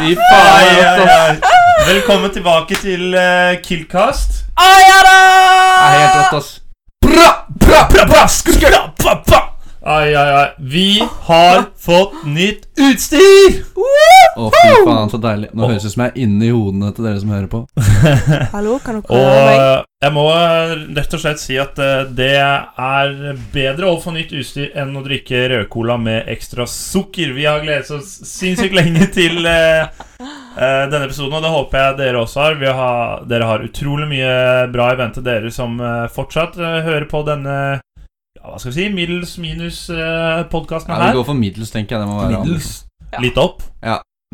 Fy faen, altså. Velkommen tilbake til eh, Killcast. Å ja da! Det er helt rått, ass. Bra, bra, bra, bra, skru, bra, bra, bra. Ai, ai, ai. Vi har fått nytt utstyr! Å, fy faen, så deilig. Nå høres det ut som jeg er inni hodene til dere som hører på. Hallo, kan dere Og høre meg? eh, jeg må eh, rett og slett si at eh, det er bedre å få nytt utstyr enn å drikke rødcola med ekstra sukker. Vi har gledet oss sinnssykt lenge til eh, eh, denne episoden, og det håper jeg dere også har. Vi har. Dere har utrolig mye bra i vente, dere som eh, fortsatt eh, hører på denne ja, hva skal vi si, middels minus-podkasten Ja, det her. går for middels, tenker jeg. Det må være Middels. Ja. Litt opp.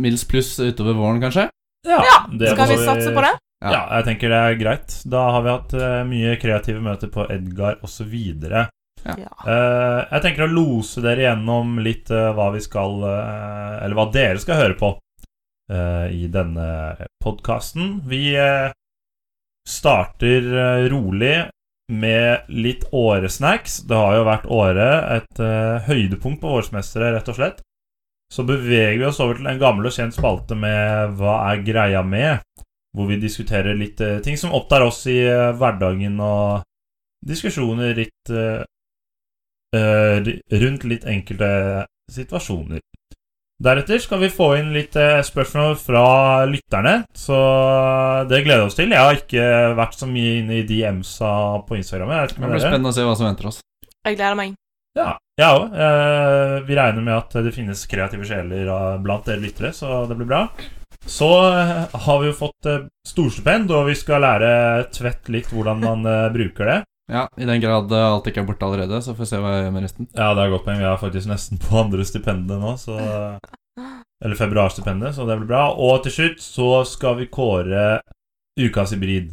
Middels pluss utover våren, kanskje? Ja, det Skal må vi satse på det? Ja. Ja. jeg tenker det er greit. Da har vi hatt eh, mye kreative møter på Edgar osv. Ja. Ja. Uh, jeg tenker å lose dere gjennom litt eh, hva vi skal eh, Eller hva dere skal høre på eh, i denne podkasten. Vi eh, starter eh, rolig med litt åresnacks. Det har jo vært åre et eh, høydepunkt på Vårsmestere, rett og slett. Så beveger vi oss over til en gammel og kjent spalte med Hva er greia med? Hvor vi diskuterer litt eh, ting som opptar oss i eh, hverdagen, og diskusjoner litt eh, eh, ri- rundt litt enkelte situasjoner. Deretter skal vi få inn litt eh, spørsmål fra lytterne, så det gleder vi oss til. Jeg har ikke vært så mye inne i DMs-a på Instagram. Jeg vet ikke Det med blir dere. spennende å se hva som venter oss. Jeg gleder meg. Ja, jeg òg. Eh, vi regner med at det finnes kreative sjeler eh, blant dere lyttere, så det blir bra. Så eh, har vi jo fått eh, storstipend, og vi skal lære Tvedt litt hvordan man eh, bruker det. Ja, I den grad eh, alt ikke er borte allerede, så får vi se hva jeg gjør med resten. Ja, det er et godt poeng. Vi er faktisk nesten på andre stipendet nå, så Eller februarstipendet, så det blir bra. Og til slutt så skal vi kåre ukas hybrid.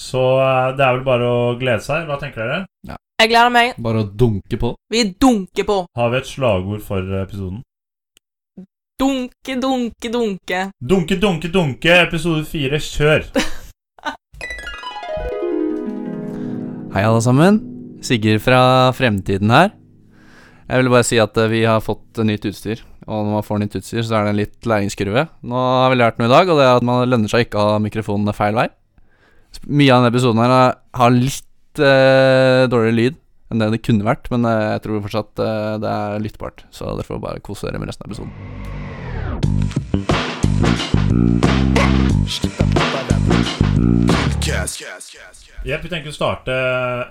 Så eh, det er vel bare å glede seg. Hva tenker dere? Jeg gleder meg. Bare å dunke på. Vi dunker på. Har vi et slagord for eh, episoden? Dunke, dunke, dunke. Dunke, dunke, dunke, episode fire, kjør! Hei, alle sammen. Sigurd fra Fremtiden her. Jeg ville bare si at eh, vi har fått eh, nytt utstyr. Og når man får nytt utstyr, så er det en litt læringskurve. Nå har vi lært noe i dag, og det er at man lønner seg ikke å ha mikrofonen feil vei. Sp- Mye av denne episoden her eh, har litt eh, dårligere lyd enn det det kunne vært, men eh, jeg tror fortsatt eh, det er lyttbart. Så dere får bare kose dere med resten av episoden. Jepp, vi tenker å starte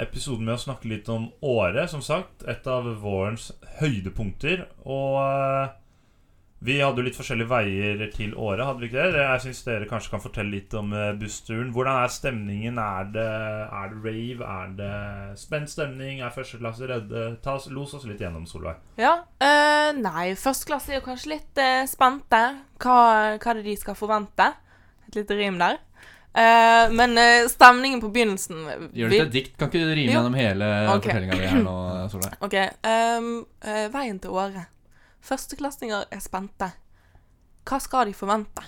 episoden med å snakke litt om året, som sagt. Et av vårens høydepunkter. Og eh, vi hadde jo litt forskjellige veier til året, hadde vi ikke det? Jeg syns dere kanskje kan fortelle litt om eh, bussturen. Hvordan er stemningen? Er det, er det rave? Er det spent stemning? Er første klasse redde? Ta oss, los oss litt gjennom, Solveig. Ja. eh, nei, første klasse er jo kanskje litt eh, spente. Hva, hva er det de skal forvente? Et lite rim der. Eh, men eh, stemningen på begynnelsen Gjør vi- det til et dikt. Kan ikke du rime Jo. gjennom hele Ok. fortellinga di her nå, Solveig? Ok, ehm, eh, veien til året. Førsteklassinger er spente. Hva skal de forvente?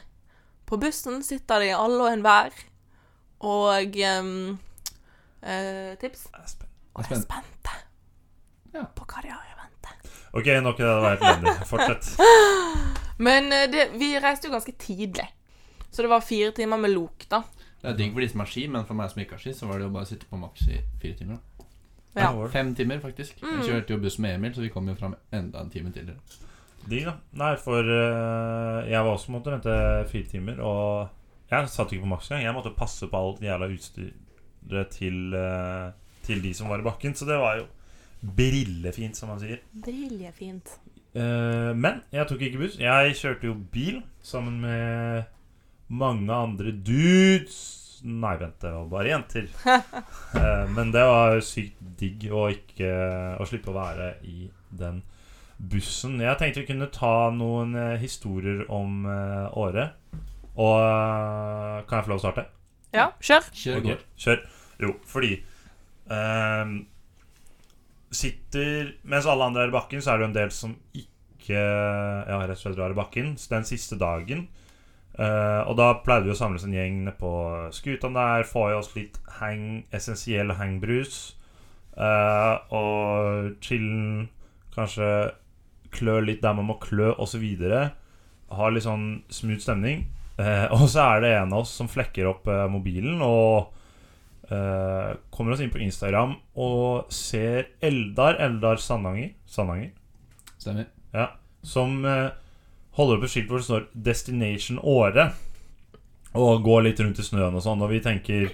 På bussen sitter de alle og enhver, og ehm, eh, tips Jeg er spent. Jeg er er spent. spente Ja. på hva de har i vente. Ok, nok av det. det var helt enig. Fortsett. Men eh, det, vi reiste jo ganske tidlig, så det var fire timer med lok, da. Det er digg for de som har ski, men for meg som ikke har ski, så var det jo bare å sitte på maks i fire timer. Ja. da. Fem timer, faktisk. Mm. Vi kjørte jo buss med Emil, så vi kom jo fram enda en time tidligere. Digg, da. Nei, for eh, jeg var også måtte vente fire timer, og jeg satt ikke på maks engang. Jeg måtte passe på alt jævla utstyret til, eh, til de som var i bakken, så det var jo brillefint, som man sier. Briljefint. Eh, men jeg tok ikke buss. Jeg kjørte jo bil sammen med mange andre dudes. Nei, vent, det var bare jenter. Eh, men det var sykt digg å, ikke, å slippe å være i den bussen. Jeg tenkte vi kunne ta noen eh, historier om eh, året. Og eh, kan jeg få lov å starte? Ja, kjør. Kjør Ok, går. Kjør. Jo, fordi ehm, Sitter Mens alle andre er i bakken, så er det jo en del som ikke Ja, rett og slett drar i bakken. Så den siste dagen eh, Og da pleide vi å samles en gjeng nede på skuta der, få i oss litt hang, essensiell hangbrus. eh, og chillen, kanskje klø litt der man må klø, osv. har litt sånn smooth stemning. Eh, og så er det en av oss som flekker opp eh, mobilen og eh, kommer oss inn på Instagram og ser Eldar Eldar Sandanger, Sandanger Stemmer. som eh, holder opp et skilt hvor det står 'Destination Åre'. Og går litt rundt i snøen og sånn. Og vi tenker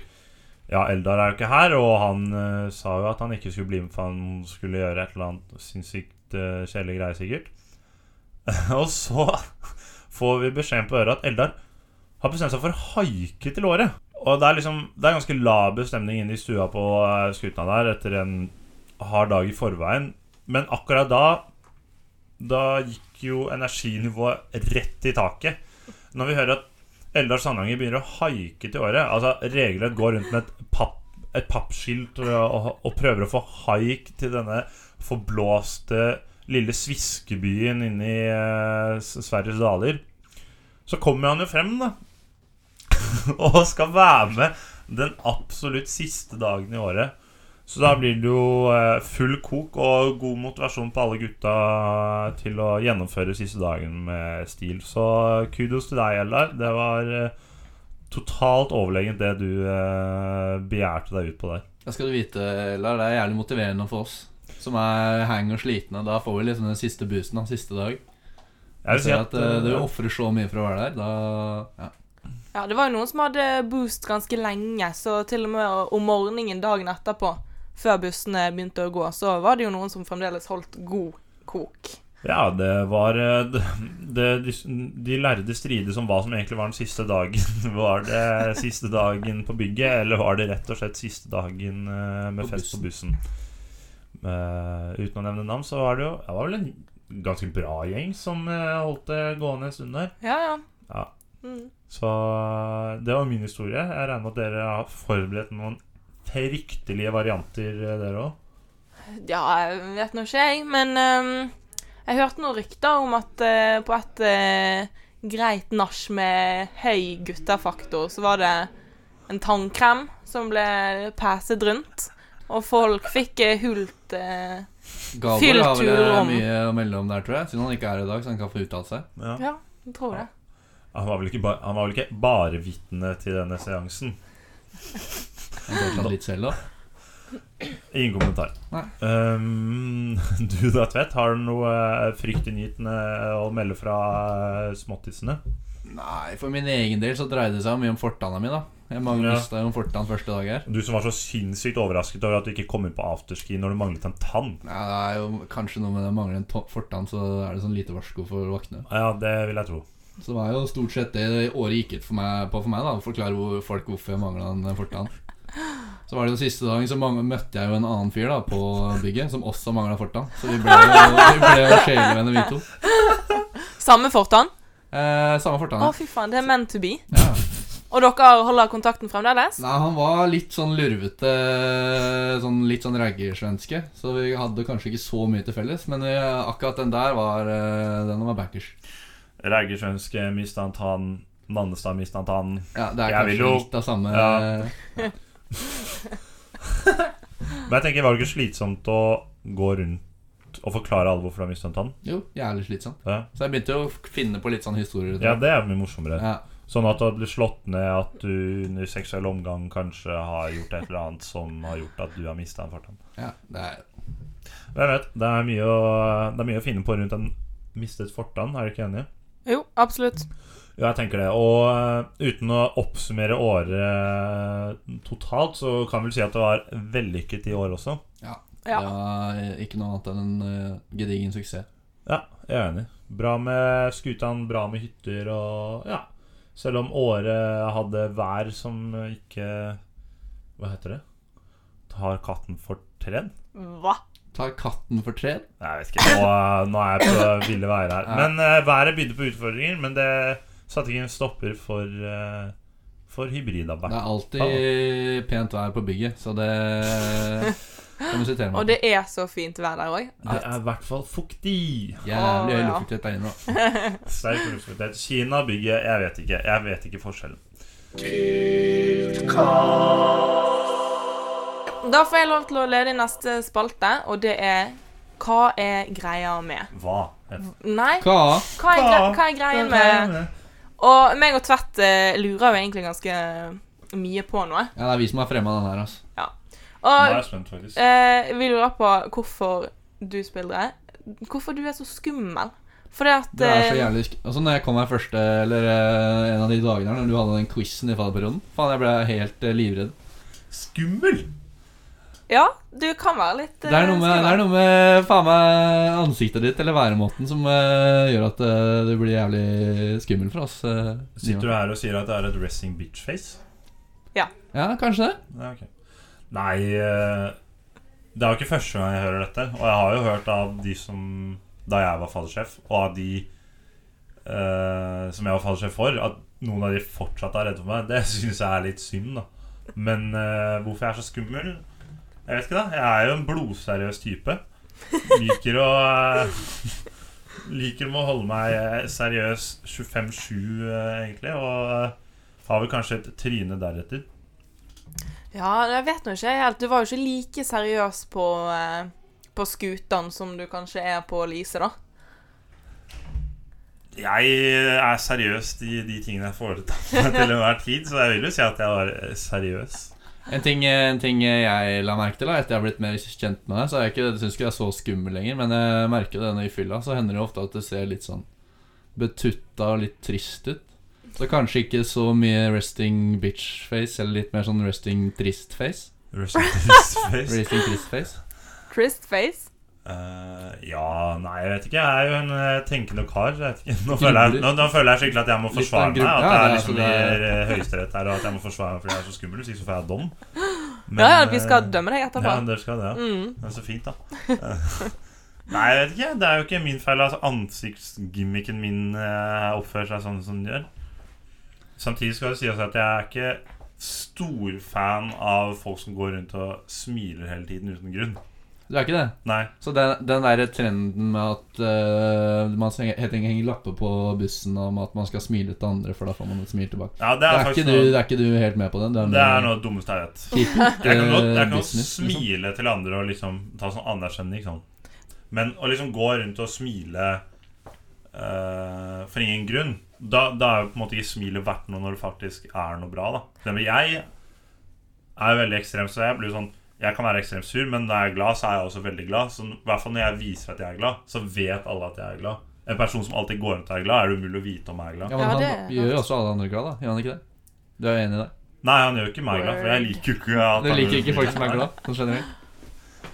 Ja, Eldar er jo ikke her, og han eh, sa jo at han ikke skulle bli med, for han skulle gjøre et eller annet sinnssykt eh, kjedelig greie, sikkert. og så får vi beskjeden på øret at Eldar har bestemt seg for å haike til Åre. Og det er liksom Det er ganske laber stemning inne i stua på eh, skuta der etter en hard dag i forveien. Men akkurat da da gikk jo energinivået rett i taket. Når vi hører at Eldar Sandanger begynner å haike til året Altså regelrett går rundt med et, papp, et pappskilt og, og, og prøver å få haik til denne forblåste lille sviskebyen inni eh, S- Sveriges daler. Så kommer han jo frem, da. og skal være med den absolutt siste dagen i året. Så da blir det jo eh, full kok og god motivasjon på alle gutta til å gjennomføre siste dagen med stil. Så eh, kudos til deg, Eldar. Det var eh, totalt overlegent det du eh, begjærte deg ut på der. Det skal du vite, Lar. Det er jævlig motiverende for oss som er hang og slitne. Da får vi liksom den siste boosten av siste dag. Jeg vil si ser at, eh, eh, Dere ofrer så mye for å være der. Da ja. Ja, det var jo noen som hadde boost ganske lenge, så til og med om morgenen dagen etterpå, før bussene begynte å gå, så var det jo noen som fremdeles holdt god kok. ja, det var eh, det, det, de, de lærde strides om hva som egentlig var den siste dagen. Var det siste dagen på bygget, eller var det rett og slett siste dagen eh, med På fest på bussen? Eh, uten å nevne navn, så var det jo Det var vel en ganske bra gjeng som eh, holdt det gående en stund der. Ja, ja. Ja. Mm. Så det var min historie. Jeg regner med at dere har forberedt noen fryktelige varianter, eh, dere òg. Ja, jeg vet nå ikke jeg, men ehm, jeg hørte noen rykter om at eh, på et eh, greit nach med høy guttefaktor, så var det en tannkrem som ble passet rundt, og folk fikk eh, hult eh, Gabor har vel eh, Fyllturom. mye å melde om der, tror jeg. Siden han ikke er her i dag, så han kan få uttalt seg. Ja. Ja, jeg tror det. Han, var vel ikke ba- han var vel ikke bare vitne til denne seansen? Han kan ta litt selv, da. Ingen kommentar. Nei. Ehm, du da, Tvedt, har du noe eh, fryktinngytende å melde fra eh, småttisene? Nei, for min egen del så dreide det seg mye om fortanna mi, da. Jeg Ja. mista jo om fortann første dag her. Du som var så sinnssykt overrasket over at du ikke kom inn på afterski når du manglet en tann. Ja, det er jo kanskje noe med det mangler en to- fortann, så er det sånn lite varsko for å våkne. Ja, det vil jeg tro. Så det var jo stort sett det året gikk ut for meg, på for meg, da. Å forklare hvor, folk hvorfor jeg mangla en fortann. Så var det jo siste dagen, så mang- møtte jeg jo en annen fyr da på bygget som også mangla fortann. Så vi ble jo, vi ble jo sjelevenner, vi to. Samme fortann? Eh, samme Å, fortann. ja. fy faen, det er meant to be. Ja. Og dere holder kontakten fremdeles? Nei, han var litt sånn lurvete, sånn, litt sånn raggersvenske. Så vi hadde kanskje ikke så mye til felles, men vi, akkurat den der var eh, Den var backers. Reigersvenske mista en tann. Nannestad mista en tann. Ja, det er Jeg vil kanskje jo- litt av samme Ja. Men jeg tenker, var det ikke slitsomt å gå rundt og forklare alle hvorfor du har mistet en tann? Jo, jævlig slitsomt. Ja. Så jeg begynte jo å finne på litt sånn historier. ja, det er mye morsommere. Ja. Sånn at du har blitt slått ned at du under seksuell omgang kanskje har gjort et eller annet som har gjort at du har mista en fartann. ja, det er Hvem vet? Det er, mye å, det er mye å finne på rundt en mistet fortann, er du ikke enig? Jo, absolutt. Ja, jeg tenker det. Og eh, uten å oppsummere året totalt, så kan vi vel si at det var vellykket i år også. Ja. det var, eh, ikke noe annet enn en eh, gedigen suksess. Ja, jeg er enig. Bra med skutene, bra med hytter og ja. Selv om Åre hadde vær som ikke Hva heter det? Tar katten for tredd? Hva? Tar katten for tred? Nei, Jeg vet ikke. Nå, nå er jeg på ville veier her. Ja. Men eh, været bydde på utfordringer, men det satte ikke en stopper for, eh, for Det hybridarbeid. er alltid pent vær på bygget, så det kan du sitere Og meg. det er så fint vær der òg. Det er i hvert fall fuktig. Jævlig høy Å, ja. luftfuktighet der inne. da. Sterk luftfuktighet. Kina, bygget Jeg vet ikke. Jeg vet ikke forskjellen. Da får jeg lov til å lede i neste spalte, og det er Hva er greia med? Hva Nei, Hva? hva er, gre hva er greien med Og meg og Tvedt eh, lurer jo egentlig ganske mye på noe. Ja, det er vi som har fremma den her, altså. Nå Og er jeg spent, faktisk. eh, vi lurer på hvorfor du spiller Hvorfor du er så skummel. Fordi at Det er så eh, jævlig sk- Altså, når jeg kom her første, eller eh, en av de dagene her, når du hadde den quizen i fallperioden Faen, jeg ble helt eh, livredd. Skummel! Ja, du kan være litt eh, Det er noe med, det er noe med faen meg ansiktet ditt eller væremåten som eh, gjør at eh, du blir jævlig skummel for oss. eh, Sitter Simon. du her og sier at det er et resting bitch-face? Ja, kanskje det. Nei, ok. Nei eh, Det er jo ikke første gang jeg hører dette. Og jeg har jo hørt av de som Da jeg var fallsjef, og av de eh, som jeg var fallsjef for, at noen av de fortsatt er redde for meg. Det syns jeg er litt synd, da. Men eh, hvorfor jeg er så skummel? Jeg vet ikke, da. Jeg er jo en blodseriøs type. Liker å eh, Liker å holde meg eh, seriøs 25-7, eh, egentlig. Og eh, har vel kanskje et tryne deretter. Ja, jeg vet nå ikke helt. Du var jo ikke like seriøs på, eh, på Skutan som du kanskje er på Lise, da. Jeg er seriøs i de tingene jeg foretar meg til enhver tid, så jeg vil jo si at jeg var eh, seriøs. En ting, eh, en ting jeg la merke til da, etter jeg har blitt mer kjent med deg, så er jeg ikke, jeg synes ikke jeg er så skummel lenger, men jeg merker det når jeg fyller, så hender det ofte at det ser litt sånn betutta og litt trist ut. Så kanskje ikke så mye resting bitch face, eller litt mer sånn resting trist face. Rest in peace face. Resting trist face. Trist face. Eh, ja, nei, jeg vet ikke. Jeg er jo en eh, tenkende kar. Jeg vet ikke. Nå, føler jeg, nå, nå føler jeg skikkelig at jeg må Litt av forsvare en meg. gruppe, At ja, det er det er liksom i altså eh, Høyesterett her, og at jeg må forsvare meg fordi jeg er så skummel. Hvis ikke så får jeg dom. ja, ja, vi skal eh, dømme deg etterpå. Ja, dere skal det. Ja. Mm. Det er så fint, da. Eh, Nei, jeg vet ikke. Det er jo ikke min feil. Altså, ansiktsgimmicken min eh, oppfører seg sånn som den gjør. Samtidig skal det sies at jeg er ikke stor fan av folk som går rundt og smiler hele tiden uten grunn. Du er ikke det? Nei. Så den, den der trenden med at eh, man skal helt enkelt henger lapper på bussen om at man skal smile til andre, for da får man et smil tilbake. Ja, det Det er, er, ikke faktisk du, noe, det er ikke du helt med på den? Du er det er med noe av det dummeste jeg vet. Keep it, Jeg kan godt, eh, jeg kan godt business, liksom. smile til andre og liksom ta sånn anerkjenning, ikke sant. Men å liksom gå rundt og smile eh, for ingen grunn da, da er jo på en måte ikke smilet verdt noe når det faktisk er noe bra, da. For eksempel, jeg er jo veldig ekstrem, så jeg blir jo sånn Jeg kan være ekstremt sur, men når jeg er glad, så er jeg også veldig glad. Så i hvert fall når jeg viser at jeg er glad, så vet alle at jeg er glad. En person som alltid går rundt og er glad, er det umulig å vite om jeg er glad. Ja, men Ja, han det er gjør jo sant. også alle andre glad, da. Gjør han ikke det? Du er enig i det? Nei, han gjør ikke meg glad, for jeg liker jo ikke at Du han- liker ikke folk som er glad? Sånn generelt.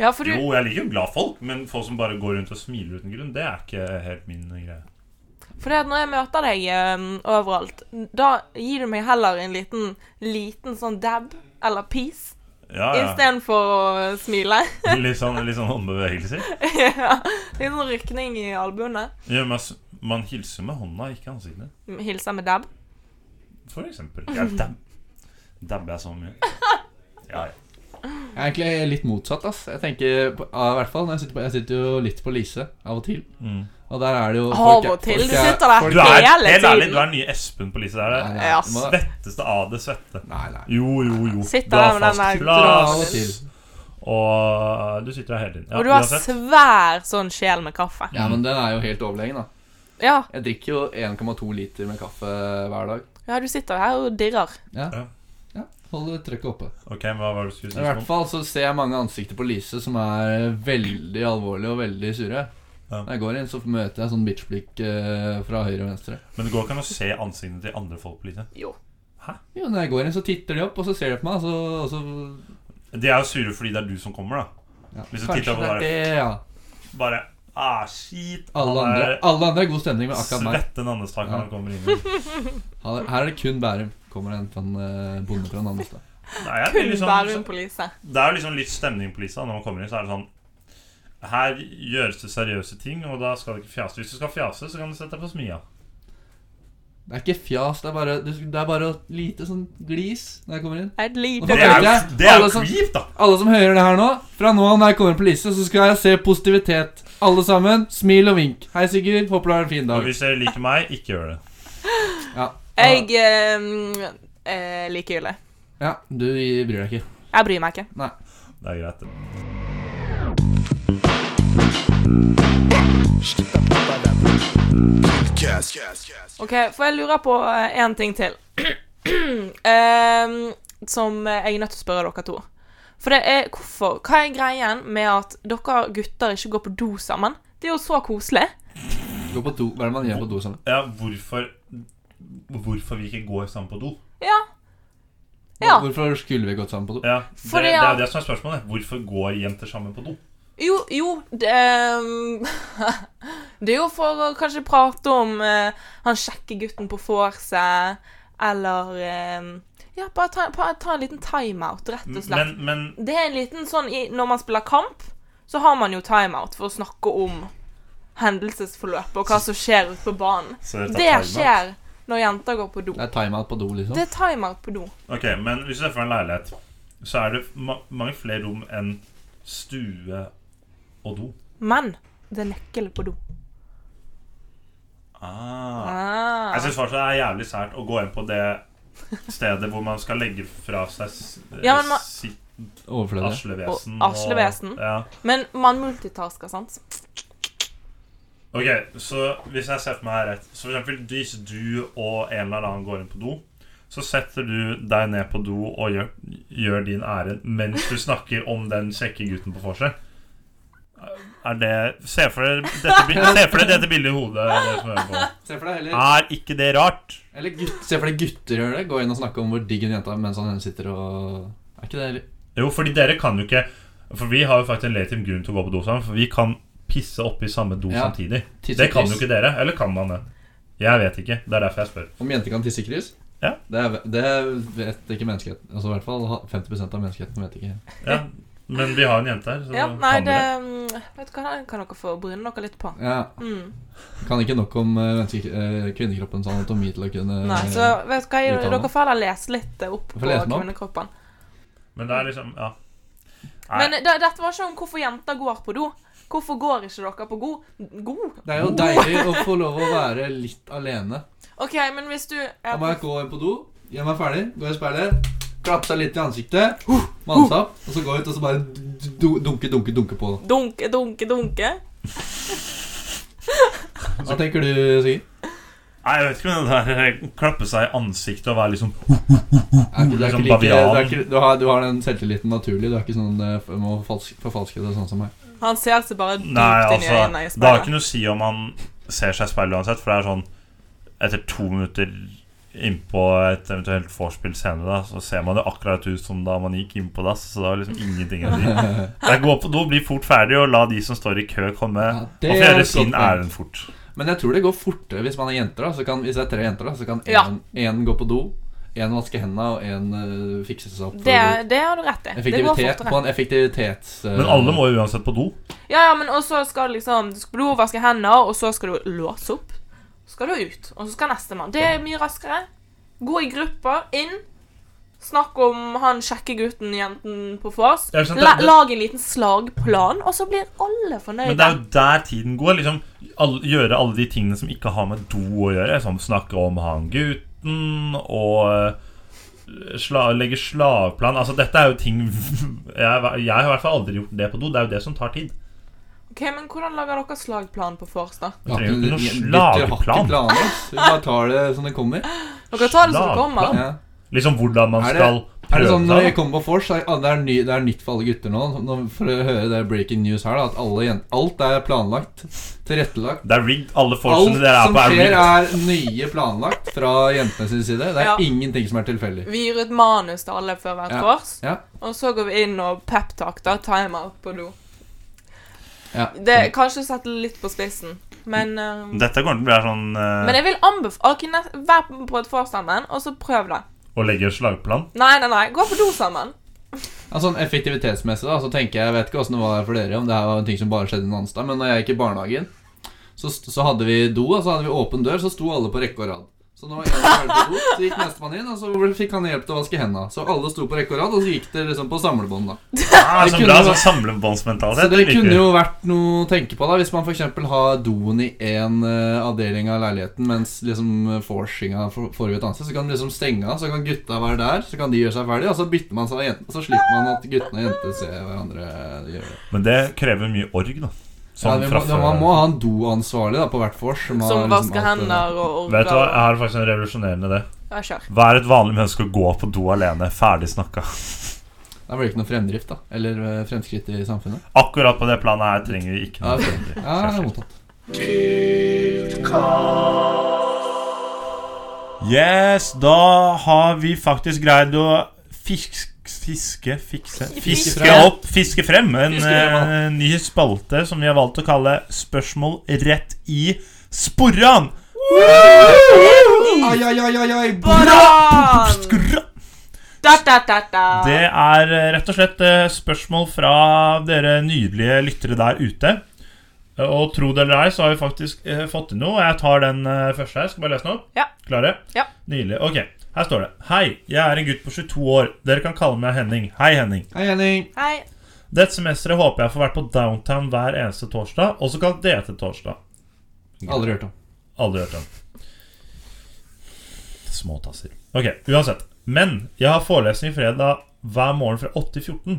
Ja, for du Jo, jeg liker jo glad folk, men folk som bare går rundt og smiler uten grunn, det er ikke helt min greie. Fordi at når jeg møter deg eh, overalt, da gir du meg heller en liten, liten sånn dab eller peace Ja, ja. istedenfor å smile. Litt sånn, litt sånn håndbevegelser. ja, litt sånn rykning i albuene. Ja, men altså, man hilser med hånda, ikke ansiktet. Hilser med dab. For eksempel. Ja, dab. Dabber jeg så mye. Ja, ja. Jeg er egentlig litt motsatt, ass. Jeg tenker, på, ja, i hvert fall, når jeg sitter, på, jeg sitter jo litt på Lise av og til. Mm. Og der er det jo Av folk er- og til? folk Du er- sitter der folk Du er- er Hele helt ærlig, tiden. du er den nye Espen på Lise der. Nei, det nei, Ja, du må- Svetteste av det svette. Nei, nei. Jo, jo, jo. Sitter Du har der med den fast der Av og plass. til. Og du sitter der hele tiden. Ja, og du har uansett. svær sånn sjel med kaffe. Ja, men den er jo helt overlegen, da. Ja, Jeg drikker jo 1,2 liter med kaffe hver dag. ja du sitter her og dirrer. Ja. Ja. ja. Hold trykket oppe. Ok, hva var det du skulle I hvert si? fall så ser jeg mange ansikter på Lise som er veldig alvorlige og veldig sure. Ja. Når jeg går inn, så møter jeg sånn bitchblikk eh, fra høyre og venstre. Men det går ikke an å se ansiktene til andre folk på Lise. Jo. Jo, når jeg går inn, så titter de opp, og så ser de på meg, og så, og så De er jo sure fordi det er du som kommer, da. ja. Hvis du Kanskje titter på det er bare- det, ja. Bare ah, shit. Alle han andre, alle andre er god stemning, men er akkurat meg svette nannestaker når Ja. han kommer inn. Her her er det kun Bærum. Kommer en sånn eh, bonde fra Nannestad. Nei, jeg blir Kun liksom, Bærum på Lise. det er jo liksom litt stemning på Lisa når man kommer inn. Så er det sånn Her gjøres det seriøse ting, og da skal det ikke fjase. Hvis du skal fjase, så kan du sette deg på smia. Det er ikke fjas, det er bare, det er bare et lite sånn glis når jeg kommer inn. Et Det Det lite er er jo, jo- Alle det er jo som- kjipt, da! Alle som hører det her nå, fra nå av når jeg kommer på Lise, så skal jeg se positivitet. Alle sammen, smil og vink. Hei, Sigurd. Håper du har en fin Og dag. hvis dere liker meg, ikke gjør det. Ja, Jeg eh, eh, liker Ylle. ja du bryr deg ikke. Jeg bryr meg ikke. Det er greit. det. Shit, da, da, da, Cast. OK, for jeg lurer på én ting til. Ehm, som jeg er nødt til å spørre dere to. For det er hvorfor Hva er greien med at dere gutter ikke går på do sammen? Det er jo så koselig. Gå på do. Hva er det man gjør på do sammen? Ja, hvorfor Hvorfor vi ikke går sammen på do? Ja. Ja. Hvorfor skulle vi gått sammen på do? Ja, det, Fordi det er at- jo det som er spørsmålet. Hvorfor går jenter sammen på do? Jo, jo det, ehm, det er jo for å kanskje prate om eh, han kjekke gutten på vorset, eller ehm, Ja, bare ta, bare ta en liten timeout, rett og slett. Men, men Det er en liten sånn i, Når man spiller kamp, så har man jo timeout for å snakke om hendelsesforløpet og hva som skjer ute på banen. så dette Det er timeout. skjer når jenter går på do. Det er timeout på do, liksom. Det er timeout på do. Ok, men hvis du ser for deg en leilighet, så er det ma mange flere rom enn stue og do. Men det er nøkkel på do. Ah. Ah. Jeg syns fortsatt det er jævlig sært å gå inn på det stedet hvor man skal legge fra seg s- Ja, men man- sitt Overflødig. aslevesen. Og aslevesen. Ja. Men man multitasker, sant? Ok, så hvis jeg ser for meg her rett Så for eksempel hvis du og en eller annen går inn på do Så setter du deg ned på do og gjør, gjør din ærend Mens du snakker om den kjekke gutten på forset Er det Se for deg dette, bil- se for deg dette bildet i hodet dere som hører på. Se for deg heller Er ikke det rart? Eller gutt, se for deg gutter gjør det. Gå inn og snakke om hvor digg en jente er mens han sitter og Er ikke det heller? Jo, fordi dere kan jo ikke For vi har jo faktisk en legitim grunn til å gå på do sammen For vi kan pisse opp i samme do Ja. samtidig Tisse Det kan jo kryss. ikke dere, eller kan man det? Jeg vet ikke, det er derfor jeg spør Om jenter kan tisse i kryss? Ja. Det, er, det vet ikke menneskeheten. Altså, I hvert fall 50 av menneskeheten vet ikke. ja. Men vi har en jente her så Ja, nei, kan det dere. mm, Vet du hva, den kan dere få bryne dere litt på. Ja, Mm. Kan ikke nok om eh, menneske, eh, kvinnekroppens anatomi til å kunne Nei, så vet du hva, uttale. dere får heller lese litt eh, opp Får på lese den opp? kvinnekroppen. Men det er liksom, ja Nei. Men eh, det, dette var ikke om hvorfor jenter går på do. Hvorfor går ikke dere på go? god? Det er jo deilig å få lov å være litt alene. OK, men hvis du Da er må jeg gå inn på do, gjør meg ferdig, gå i speilet, klappe seg litt i ansiktet, manne seg opp, og så gå ut og så bare du- du- dunke, dunke, dunke på. Dunke, dunke, dunke. Hva tenker du, Sigurd? Nei, jeg vet ikke om det der eh, klappe seg i ansiktet og være liksom Er ikke- Du, Liksom er ikke like, du, er bavian. ikke, du, har, du har den selvtilliten naturlig. Du er ikke sånn eh, f- må falsk, forfalske det sånn som meg. Han ser seg bare dypt Nei, inn i altså, øynene i det har ikke speilet. noe å si om man ser seg i speilet uansett, for det er sånn Etter to minutter innpå et eventuelt vorspiel senere, da, så ser man jo akkurat ut som da man gikk inn på dass, så det har liksom ingenting å si. Jeg går på do, blir fort ferdig, og la de som står i kø, komme. Ja, og det få er gjøre et sin godt poeng. ærend fort. Men jeg tror det går fortere hvis man er jenter. da så kan, Hvis det er tre jenter, da så kan Ja. én gå på do, én vaske hendene og én eh, fikse seg opp. for Det, det har du rett i. Det går effektivitet, på fortere. en effektivitets... eh, Men alle må jo uansett på do. Ja, ja, men også skal du liksom Du skal blodvaske hendene, og så skal du låse opp. Så skal du ut, og så skal nestemann. Det er mye raskere. Gå i grupper. Inn. Snakk om han kjekke gutten, jenten på Fås. Ja, ikke sant, La, det- det- lag en liten slagplan, og så blir alle Men det fornøyde. er jo der tiden går. liksom all, Gjøre alle de tingene som ikke har med do å gjøre. Som snakke om han gutten og eh, sla, legge slavplan Altså Dette er jo ting jeg, jeg har i hvert fall aldri gjort det på do. Det er jo det som tar tid. Ok, men Hvordan lager dere slagplan på Fås, da? Ja, trenger jo ikke noe gutter har ikke slagplan. planer, ass. Vi bare tar det som det kommer. Dere tar det som det Slagplan? kommer. Ja. Liksom hvordan man Er det- skal Er det prøve sånn når jeg seg. kommer på vors, så er- ah, det, er ny, det er nytt for alle gutter nå, nå for å høre det breaking news her, da, at alle, jen- alt er planlagt, tilrettelagt. Det er rigged. Alle Alt folkene dere er som på, er skjer, rigged. er nye planlagt fra jentene sin side. Det er Ja. ingenting som er tilfeldig. Vi gir ut manus til alle før hvert Ja. vors, Ja. og så går vi inn og peptalk, da. Timeout på do. Ja. Det Mm. er kanskje satt litt på spissen, men eh, Dette kommer til å bli sånn eh, Men jeg vil anbefale okay, nest- Vær på et vors sammen, og så prøv det. å legge slagplan. Nei, nei, nei. Gå på do sammen. Ja, sånn effektivitetsmessig da, så tenker jeg, jeg vet ikke hvordan det var for dere, om det her var en ting som bare skjedde en annen sted, men når jeg gikk i barnehagen, så, st- så hadde vi do, og så hadde vi åpen dør, så sto alle på rekke og rad. Så når jeg var ferdig på do, så gikk nestemann inn, og så fikk han hjelp til å vaske hendene. Så alle sto på rekke og rad, og så gikk det liksom på samlebånd da. Ah, Det så kunne bra jo- sånn samlebåndsmentalitet. Så det det liker kunne vi. jo vært noe å tenke på da, hvis man for eksempel har doen i en eh, avdeling av leiligheten, mens liksom forsinga foregår et annet sted, så kan du liksom stenge av, så kan gutta være der, så kan de gjøre seg ferdig, og så bytter man seg av jentene, og så slipper man at guttene og jentene ser hverandre gjøre det. Men det krever mye org, da. Ja, Sånn det fra må, det- man før. må ha en doansvarlig da, på hvert vors. har Som liksom vasker alt det- hender og orger. Vet du hva, jeg har faktisk en revolusjonerende idé. Ja, kjør. Vær et vanlig menneske og gå på do alene. Ferdig snakka. Da blir det ikke noe fremdrift, da. Eller eh, fremskritt i samfunnet. Akkurat på det planet her trenger vi ikke noe. Ja, ok. fremdrift. Ja, det er mottatt. Yes, da har vi faktisk greid å fiske Fiske, fikse Fiske Fiske frem. opp, fiske frem en Fiske frem, ja. eh, ny spalte som vi har valgt å kalle Spørsmål rett i sporran! Ai, ai, ai, ai, ai. Baran! Skurra! Da, da, da, da. Det er eh, rett og slett eh, spørsmål fra dere nydelige lyttere der ute. Eh, Og tro det eller ei, så har vi faktisk eh, fått inn noe. Jeg tar den eh, første her. Skal bare lese den opp? Ja. Klare? Ja. Nydelig. Ok, her står det. Hei, jeg er en gutt på 22 år. Dere kan kalle meg Henning. Hei, Henning. Hei, Henning. Hei. Dette semesteret håper jeg får vært på downtown hver eneste torsdag, også kalt DT-torsdag. Aldri hørt om. Aldri hørt om. Småtasser. Ok, uansett. Men jeg har forelesning fredag hver morgen fra 8 til 14.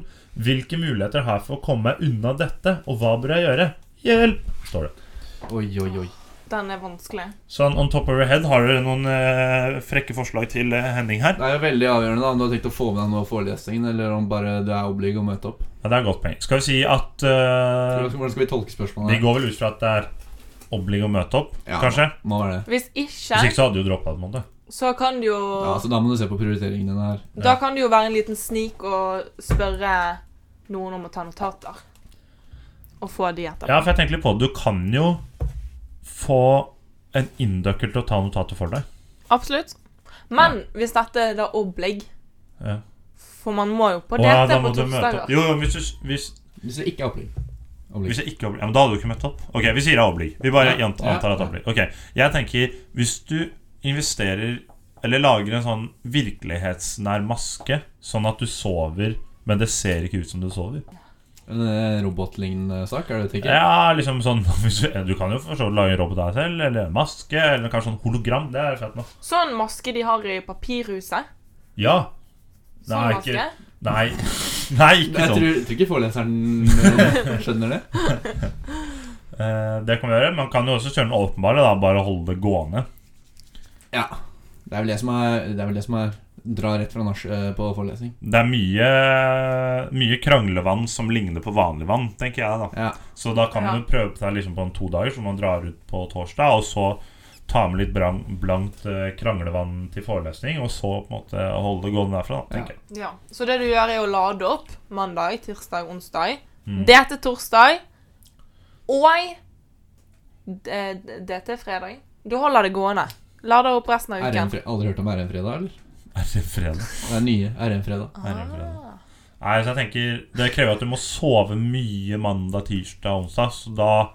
Hvilke muligheter har jeg for å komme meg unna dette, og hva bør jeg gjøre? Hjelp! står det. Oi, oi, oi. Den er vanskelig. Sånn on top of your head, har dere noen eh, frekke forslag til eh, Henning her? Det er jo veldig avgjørende da om du har tenkt å få med deg noe av forelesningen, eller om bare du er oblig å møte opp. Ja, det er godt poeng. Skal vi si at eh, Hvordan skal vi tolke De spørsmålet? her? går vel ut fra at det er oblig å møte opp, Ja. kanskje? Må være det. Hvis Hvis ikke, ikke altså, så hadde de jo droppa det. på en måte. så kan det jo Ja, så Da må du se på prioriteringene dine her. Da kan det jo være en liten snik og spørre noen om å ta notater. Og få de etterpå. Ja, for jeg tenker litt på det. Du kan jo få en inducker til å ta notatet for deg. Absolutt. Men hvis dette er da oblig Ja. For man må jo på Å DT ja, da på må du møte opp. torsdager. Jo, jo, hvis du, hvis, Hvis det ikke er opplegg. Oblig. hvis jeg ikke er oblig ja, men Da hadde du ikke møtt opp. Ok, Vi sier det er oblig. Vi bare Ja. jant- antar at det er oblig. Ok, Jeg tenker hvis du investerer eller lager en sånn virkelighetsnær maske, sånn at du sover, men det ser ikke ut som du sover. En eh, robotlignende sak, er det det ikke? Ja, liksom sånn hvis du, du kan jo for så vidt lage en robot av deg selv, eller en maske, eller kanskje sånn hologram. Det er fett nok. Sånn maske de har i papirhuset. Ja. Sånn Nei, maske. ikke- Nei. Nei, ikke Jeg sånn. tror, tror ikke foreleseren skjønner det. Eh, det kan vi gjøre. Man kan jo også kjøre den åpenbare, da, bare holde det gående. Ja. Det er vel det som er, det er, vel det som er dra rett fra nach eh, på forelesning. Det er mye, mye kranglevann som ligner på vanlig vann, tenker jeg. da Ja. Så da kan Ja. du prøve på deg liksom på en to dager, så man drar ut på torsdag, og så ta med litt brang, blankt eh, kranglevann til forelesning, og så på en måte holde det gående derfra. da, Ja. tenker jeg Ja. Så det du gjør, er å lade opp mandag, tirsdag, onsdag. Mm. DT torsdag. Og eh, d- d- DT fredag. Du holder det gående. Lader opp resten av uken. RM, aldri hørt om RM-fredag, eller? Er det fredag? Det er nye RM-fredag. Er det fredag? Ah. Nei, så jeg tenker Det krever at du må sove mye mandag, tirsdag, onsdag, så da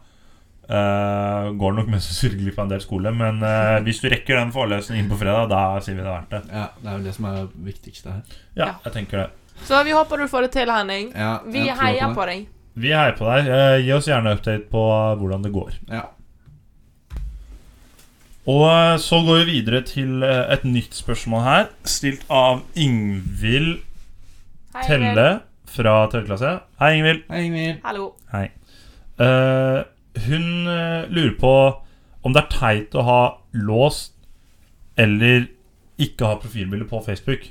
eh, går det nok mest sannsynlig glipp av en del skole. Men eh, hvis du rekker den forelesningen inn på fredag, da sier vi det er verdt det. Ja, det er vel det som er det viktigste her. Ja, Ja. jeg tenker det. Så vi håper du får det til, Henning. Ja, Vi jeg tror heier på deg. Vi heier på deg. Eh, Gi oss gjerne update på eh, hvordan det går. Ja. Og eh, så går vi videre til eh, et nytt spørsmål her, stilt av Ingvild Hei, Ingrid. Telle fra tredje klasse. Hei, Ingvild. Hei, Ingvild. Hallo. Hei. Eh, hun eh, lurer på om det er teit å ha låst eller ikke ha profilbilde på Facebook.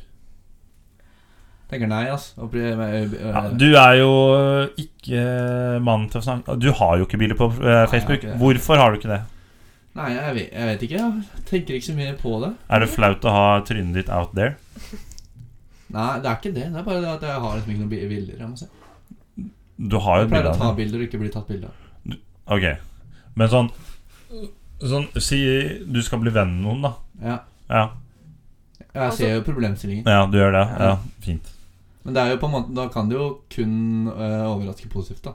Tenker nei, ass. Og pri- med- ø- ø- Ja, du er jo eh, ikke eh, mannen til å snakke Du har jo ikke bilde på eh, Facebook. ikke det. Hvorfor har du ikke det? Nei, jeg vet, jeg vet ikke. Jeg tenker ikke så mye på det. Er det flaut å ha trynet ditt out there? Nei, det er ikke det. Det er bare det at jeg har liksom ikke noen bi- bilder. Jeg må se. Du har jo Jeg et pleier bilde å ta av det. bilder og ikke bli tatt bilde av. Ok, men sånn Sånn, Si du skal bli venn med noen, da. Ja. Ja, Altså- Jeg ser jo problemstillingen. ja du gjør det. Ja, Fint. Men det er jo på en måte, da kan det jo kun ø, overraske positivt, da.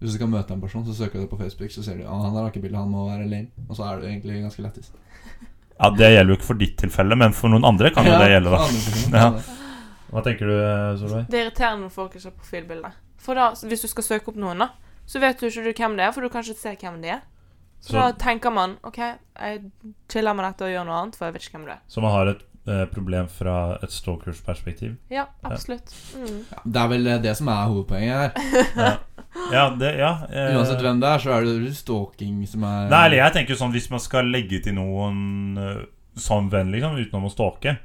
Hvis du skal møte en person, så søker du på Facebook, så ser du at han har ikke bilde, han må være lame. Og så er du egentlig ganske lættis. Ja, Det gjelder jo ikke for ditt tilfelle, men for noen andre kan jo det gjelde. da Ja. Hva tenker du, Solveig? Det er irriterende når folk ikke har profilbilde. For da, hvis du skal søke opp noen, da, så vet du ikke du hvem det er, for du kan ikke se hvem det er. Så, Så- da tenker man OK, jeg chiller med dette og gjør noe annet, for jeg vet ikke hvem det er. Så man har et eh, problem fra et stalkers perspektiv. Ja, absolutt. Mm. Ja, det er vel ø, det som er hovedpoenget her. Ja. Ja, det, ja eh, Uansett hvem det er, så er det stalking som er Nei, eller jeg tenker sånn Hvis man skal legge til noen eh, som venn, liksom, utenom å stalke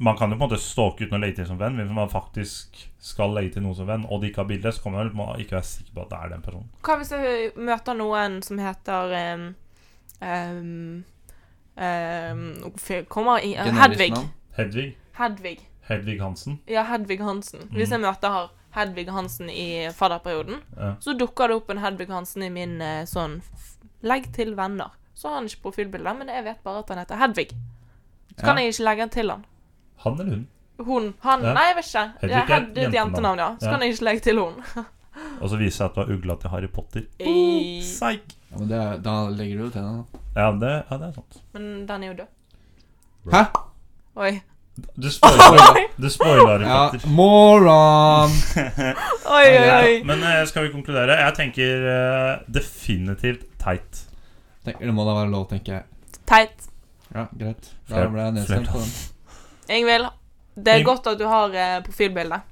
Man kan jo på en måte stalke uten å legge til som venn, men hvis man faktisk skal legge til noen som venn, og de ikke har bilde, så kan man vel må ikke være sikker på at det er den personen. Hva hvis jeg møter noen som heter ehm, ehm, ehm, f- Kommer i eh, Generisk Hedvig. navn. Hedvig. Hedvig. Hedvig Hansen. Ja, Hedvig Hansen. Mm. Hvis jeg møter her Hedvig Hansen i fadderperioden, Ja. så dukker det opp en Hedvig Hansen i min eh, sånn f- Legg til venner. Så har han ikke profilbilde, men jeg vet bare at han heter Hedvig. Så kan jeg ikke legge til han. Han eller hun. Hun. Han. Ja. Nei, jeg vet ikke. Hedvig Ja, er et Hed- det er et jentenavn. jentenavn, ja. Så Ja. kan jeg ikke legge til hun. Og så viser det seg at du har ugla til Harry Potter. I- Psyk! Ja, men det er, Da legger du jo til den. Ja, det, ja, det er sant. Men den er jo død. Hæ? Oi. Du spoiler, du spoiler Harry Ja, Potter. moron! Oi, oi, Ja, oi. men eh, skal vi konkludere? Jeg tenker eh, definitivt teit. Tenk, det må da være lov, tenker jeg. Teit. Ja, greit. Da ble jeg nedstemt på den. Ingvild, det er Ing- godt at du har eh, profilbilde.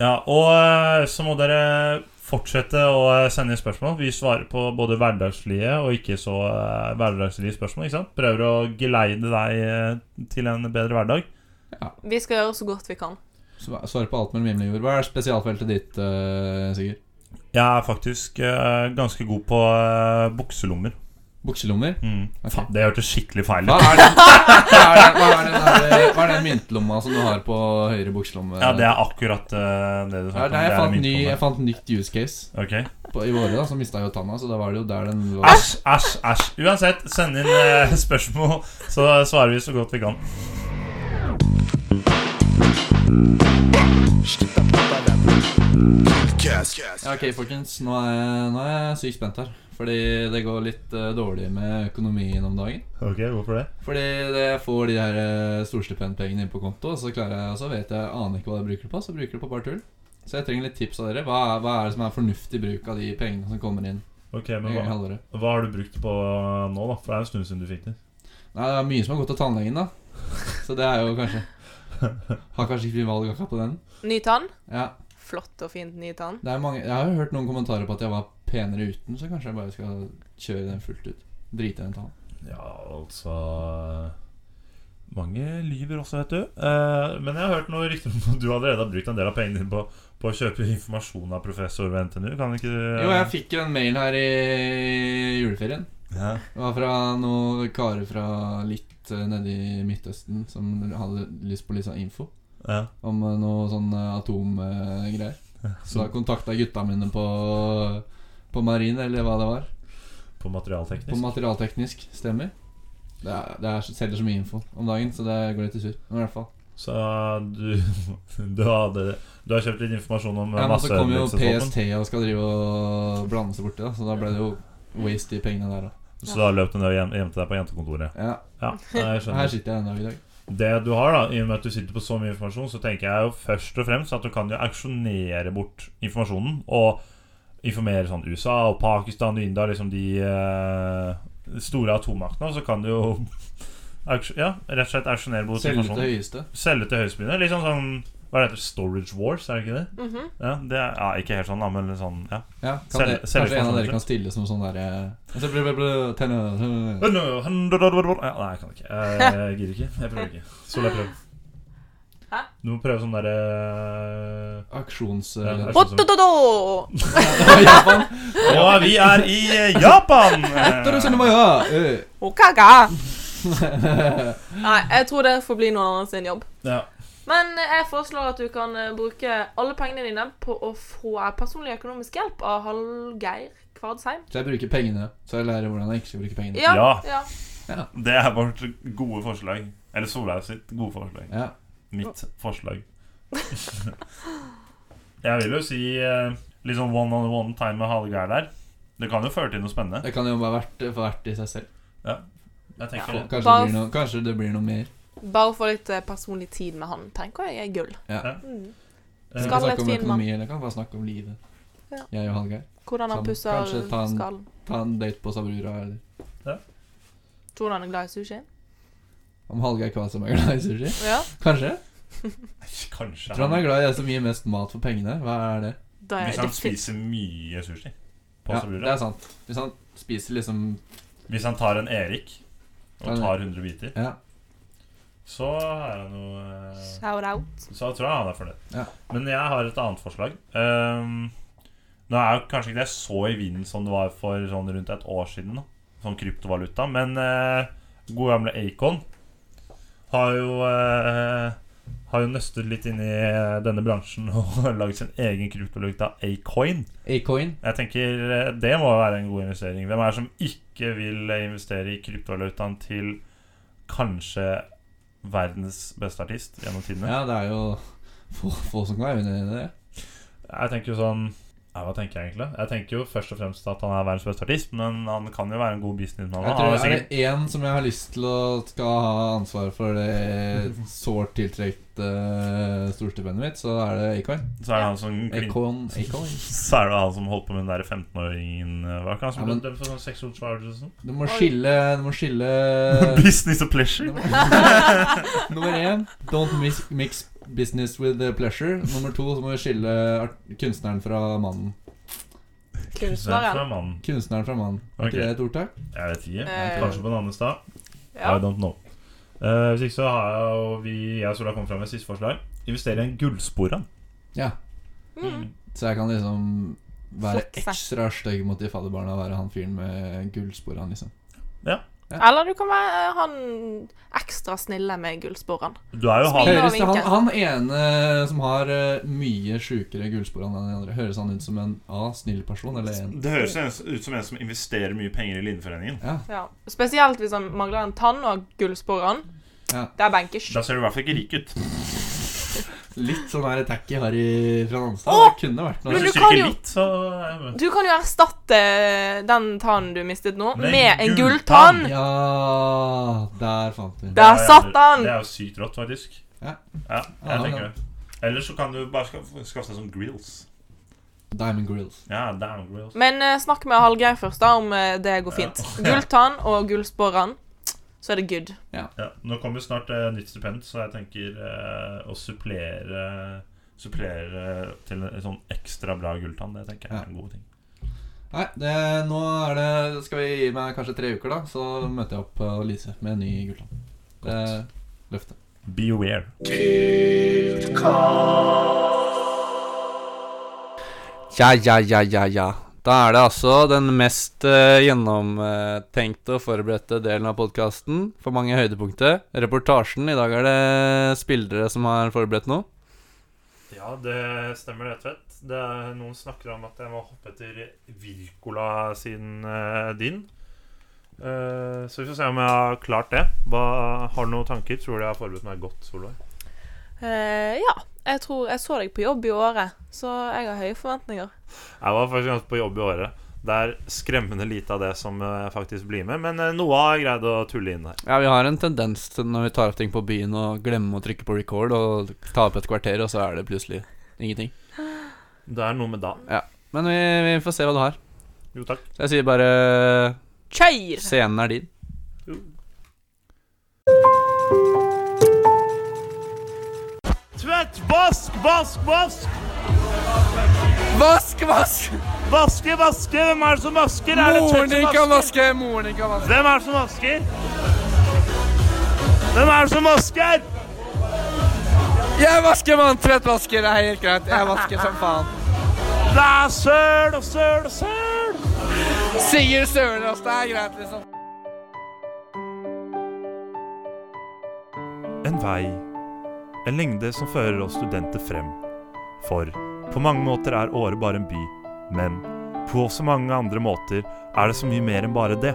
Ja, og eh, så må dere fortsette å eh, sende inn spørsmål. Vi svarer på både hverdagslige og ikke så eh, hverdagslige spørsmål. ikke sant? Prøver å geleide deg eh, til en bedre hverdag. Vi skal gjøre så godt vi kan. Sva- Svar på alt mellom himmel og jord. Hva er spesialfeltet ditt, eh, Sigurd? Jeg er faktisk eh, ganske god på eh, bukselommer. Bukselommer? Mm. Ok. Faen, det hørtes skikkelig feil Hva ut. er den, hva er den, hva er den, her- hva er den myntlomma som du har på høyre bukselomme? Ja, det er akkurat eh, det du Ja, snakket der jeg, fant det ny, jeg er fant nytt use case myntene. Ok. på, i våre, da, så mista jeg jo tanna, så da var det jo der den lå. Æsj, æsj, æsj. Uansett, send inn eh, spørsmål, så svarer vi så godt vi kan. Ja, ok, folkens. Nå er, jeg, nå er jeg sykt spent her. Fordi det går litt eh, dårlig med økonomien om dagen. Ok, hvorfor det? Fordi det jeg får de her eh, storstipendpengene inn på konto, og så klarer jeg, og så vet jeg aner ikke hva jeg bruker det på, så bruker jeg det på bare tull. Så jeg trenger litt tips av dere. Hva er, hva er det som er fornuftig bruk av de pengene som kommer inn? Ok, i men hva, halvåret? hva har du brukt på eh, nå, da? For det er jo en stund siden du fikk det. Nei, det er mye som har gått til tannlegen, da. Så det er jo kanskje Har kanskje ikke vi valg akkurat på den. Ny tann. Ja, Flott og fint ny tann. det er mange Jeg har jo hørt noen kommentarer på at jeg var penere uten, så kanskje jeg bare skal kjøre den fullt ut. Drite i den tannen. Ja, altså Mange lyver også, vet du. Eh, men jeg har hørt noen rykter om at du allerede har brukt en del av pengene dine på, på å kjøpe informasjon av professor ved NTNU. Kan ikke du Jo, jeg fikk jo en mail her i juleferien. ja. Det var fra noen karer fra litt eh, nede i Midtøsten som hadde lyst på litt sånn info Ja. om eh, noe sånn atomgreier. Så Så, da kontakta gutta mine på, på marin, eller hva det var. på På materialteknisk. materialteknisk, stemmer. Det, er, det er, selger så mye info om dagen, så det går litt i surr. Men i hvert fall. Så du, du, hadde, du har kjøpt litt informasjon om Ja, men så kom jo masseødeleggelsesvåpen? PST og skal drive og blande seg borti, da, så da ble det jo waste de pengene der òg. Så da løp du ned og gjem- gjemte deg på jentekontoret. Ja, Ja, jeg så her skjønner sitter jeg ennå i dag. Det du har, da, i og med at du sitter på så mye informasjon, så tenker jeg jo først og fremst at du kan jo auksjonere bort informasjonen. Og informere sånn USA og Pakistan og India, liksom de eh, store atommaktene. Og så kan du jo auksj- ja, rett og slett auksjonere bort Selge til det informasjonen. høyeste. Selge til høystbyen. Litt sånn sånn hva er det heter? Storage Wars, er det ikke det? Mhm. Ja, det er, ja, Ikke helt sånn, da, men sånn ja. Ja, kan Selge- det, selge kanskje en av informasjon, dere kan stille som sånn derre eh, sånn, Ja, Nei, jeg kan ikke. Jeg jeg gidder ikke. Jeg prøver ikke. Sol, jeg prøver. Hæ? Du må prøve sånn derre Aksjons... eh, Ja, eller- aksj- Otododo! Ja, Japan. Og eh, vi er i eh, Japan! Etter å sende meg, ja. Eh. Okaka! Nei, jeg tror det får bli noen andre sin jobb. Ja. Men eh, jeg foreslår at du kan eh, bruke alle pengene dine på å få personlig økonomisk hjelp av Hallgeir Kvadsheim. Så jeg bruker pengene. Så jeg lærer hvordan jeg ikke skal bruke pengene. Ja, ja. Ja. Det er vårt gode forslag. Eller Solhaug sitt gode forslag. Ja. Mitt forslag. Jeg vil jo si eh, litt sånn one on one time med Hallgeir der. Det kan jo føre til noe spennende. Det kan jo være verdt, for verdt i seg selv. Jeg tenker det. Kanskje det, Bare- blir noe, kanskje det blir noe mer. Bare få litt eh, personlig tid med han, tenker jeg er gull. Ja. Mm. Vi Eh, kan Skallet snakke om fin mann. økonomi, eller kan bare snakke om livet. Ja. Jeg og Hallgeir. Hvordan han Sånn, pusser kanskje ta en- skallen. Ta en date på Sabrura. Eller. Tror du han er glad i sushi? Om Hallgeir Kvadsheim er glad i sushi? Ja. Kanskje? Kanskje Eh, Tror han er glad i det som gir mest mat for pengene. Hva er det? Da er Hvis han det fint. spiser mye sushi, på Ja, så blir det er sant. Hvis han spiser liksom Hvis han tar en Erik og Ja, det- tar 100 biter, Ja. så er han jo eh, Shout out. Så tror jeg han er fornøyd. Ja. Men jeg har et annet forslag. Ehm, nå er jo kanskje ikke det så i vinden som det var for sånn rundt et år siden, da, som kryptovaluta, men eh, gode gamle Acon har jo eh, har jo nøstet litt inn i eh, denne bransjen og laget sin egen kryptovaluta, Acoin. A-coin. Jeg tenker eh, Det må være en god investering. Hvem er det som ikke vil eh, investere i kryptovalutaen til kanskje verdens beste artist gjennom tidene? Ja, det er jo få, få som kan være uenig i det. Jeg tenker jo sånn ja, Hva tenker jeg egentlig? Jeg tenker jo først og fremst at han er verdens beste artist, men han kan jo være en god businessmann. Jeg Han tror har Er sikkert, det én som jeg har lyst til å skal ha ansvar for det sårt tiltrengte uh, storstipendet mitt, så er det Acon. så er det han som klin- Acon, Acon. Så er det han som holdt på med den der 15-åringen eh, Hva er det han som Ja, men- ble dømt for sånn seksualforbrytelse? Du må Oi. skille Du må skille Eh, Business og pleasure? Nummer én Don't mix, mix business with eh, pleasure. Nummer to så må du skille art kunstneren fra mannen. Kunstneren Kunstneren. fra mannen. Kunstneren fra mannen. Er Ok. ikke det et ordtak? Jeg vet ikke. Eh. Kanskje på en annen stad. Ja. I don't know. Eh, hvis ikke så har jeg og vi Jeg og Sola kommet fram med siste forslag. Investere i en gullspora. Ja. Mm. Så jeg kan liksom være Flekse. ekstra stygg mot de fadderbarna og være han fyren med gullsporene, liksom. Eller du kan være eh, han ekstra snille med gullsporene. Du er jo han Smil. Høres det han, vinkel. han ene som har eh, mye sjukere gullspor enn den andre, høres han ut som en A, snill person, eller en Det høres ut som en som investerer mye penger i Linneforeningen. Ja. Ja. Spesielt hvis han mangler en tann og gullsporene. Ja. Det er benkers. Da ser du i hvert fall ikke rik ut. Litt sånn her tacky Harry fra Nanstad. Åh! Det kunne vært Hvis noe. Men du du kan stryker jo- litt, så er jeg med. Du kan jo erstatte den tannen du mistet nå, Med med, en gulltann. gulltann. Ja Der fant vi den. Der satt han! Det er jo sykt rått, faktisk. Ja. Ja, Ja, jeg tenker det. Eller så kan du bare skaffe, skaffe deg som grills. Diamond Grills. Ja, damn grills. Men eh, snakk med Hallgeir først, da, om eh, det går fint. Gulltann og gullsporene, så er det good. Ja, nå kommer jo snart eh, nytt stipend, så jeg tenker eh, å supplere Supplere til en sånn ekstra bra gulltann. Det tenker jeg Ja. er en god ting. Nei, det, nå er det Skal vi gi meg kanskje tre uker, da, så møter jeg opp på Lise med en ny gulltann. Det er løftet. Beware. Ja, ja, ja, ja, ja. Da er det altså den mest eh, gjennomtenkte og forberedte delen av podkasten. For mange høydepunkter. Reportasjen. I dag er det spillere som har forberedt noe. Ja, det stemmer det, Tvedt. Det er, noen snakker om at jeg må hoppe etter Virkola sin eh, din. Eh, så vi får se om jeg har klart det. Hva, har du noen tanker? Tror du jeg har forberedt meg godt, Solveig? Eh, ja. Jeg tror jeg så deg på jobb i året, så jeg har høye forventninger. Jeg var faktisk ganske på jobb i året. Det er skremmende lite av det som eh, faktisk blir med, men eh, noe har jeg greid å tulle inn her. Ja, vi har en tendens til når vi tar opp ting på byen og glemmer å trykke på record og ta opp et kvarter, og så er det plutselig ingenting. Det er noe med da. Men vi, vi får se hva du har. Jo, takk. Så jeg sier bare eh, Kjør! scenen er din. Tvedt, vask, vask, vask! Vask, vask! Vaske, vaske! Hvem er det som vasker? Moren din kan vaske, moren din kan vaske. Hvem er det som vasker? Hvem er det som vasker? Jeg vasker vanntvettvasker, det er helt greit. Jeg vasker som faen. Det er søl og søl og søl! Sier Sølås, det er greit, liksom. En vei, en lengde som fører oss studenter frem. For på mange måter er Åre bare en by, men på så mange andre måter er det så mye mer enn bare det.